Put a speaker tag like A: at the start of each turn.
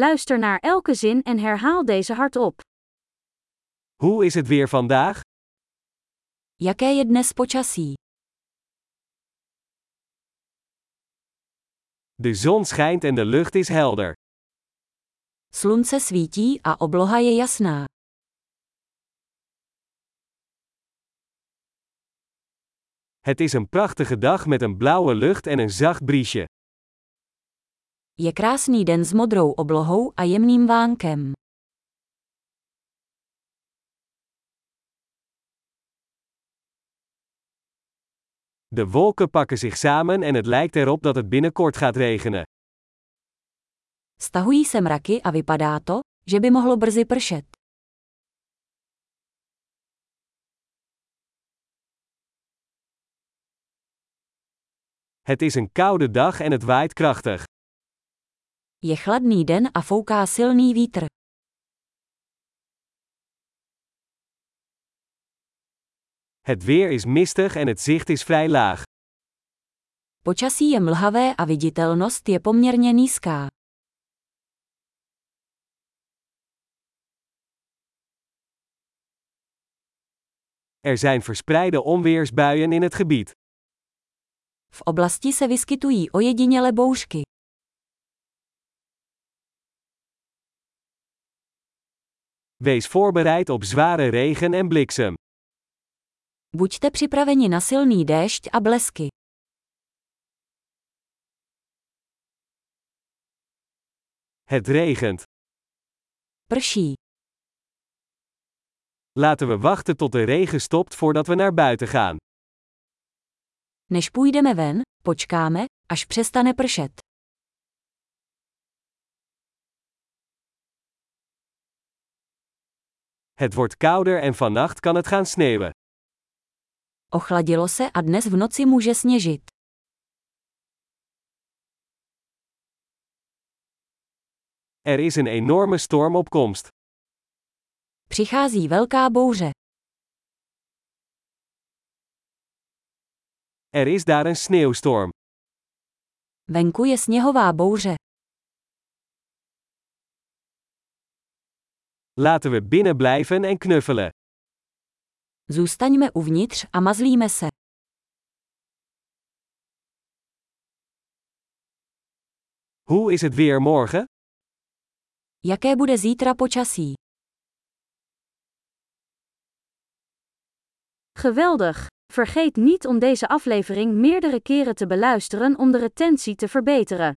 A: Luister naar elke zin en herhaal deze hardop.
B: Hoe is het weer vandaag?
C: Jaké je dnes počasí?
B: De zon schijnt en de lucht is helder.
C: Slunce svítí a obloha je jasná.
B: Het is een prachtige dag met een blauwe lucht en een zacht briesje.
C: Je krásný den s modrou oblohou a jemným vánkem.
B: De wolken pakken zich samen en het lijkt erop dat het binnenkort gaat regenen.
C: Stahují se mraky a vypadá to, že by mohlo brzy pršet.
B: Het is een koude dag en het waait krachtig.
C: Je chladný den a fouká silný vítr.
B: Het weer is mistig en het zicht is vrij laag.
C: Počasí je mlhavé a viditelnost je poměrně nízká.
B: Er zijn verspreide onweersbuien in het gebied.
C: V oblasti se vyskytují ojediněle bouřky.
B: Wees voorbereid op zware regen en bliksem.
C: Buďte připraveni na silný déšť a blesky.
B: Het regent.
C: Prší.
B: Laten we wachten tot de regen stopt voordat we naar buiten gaan.
C: Než půjdeme ven, počkáme, až přestane pršet.
B: Het wordt kouder en vannacht kan het gaan sneeuwen.
C: Ochladilo se a dnes v noci může sněžit.
B: Er is een enorme storm op komst.
C: Přichází velká bouře.
B: Er is daar een sneeuwstorm.
C: Venku je sněhová bouře.
B: Laten we binnen blijven en knuffelen.
C: Zůstaňme uvnitř a mazlíme se.
B: Hoe is het weer morgen?
C: Jaké bude zítra počasí?
A: Geweldig! Vergeet niet om deze aflevering meerdere keren te beluisteren om de retentie te verbeteren.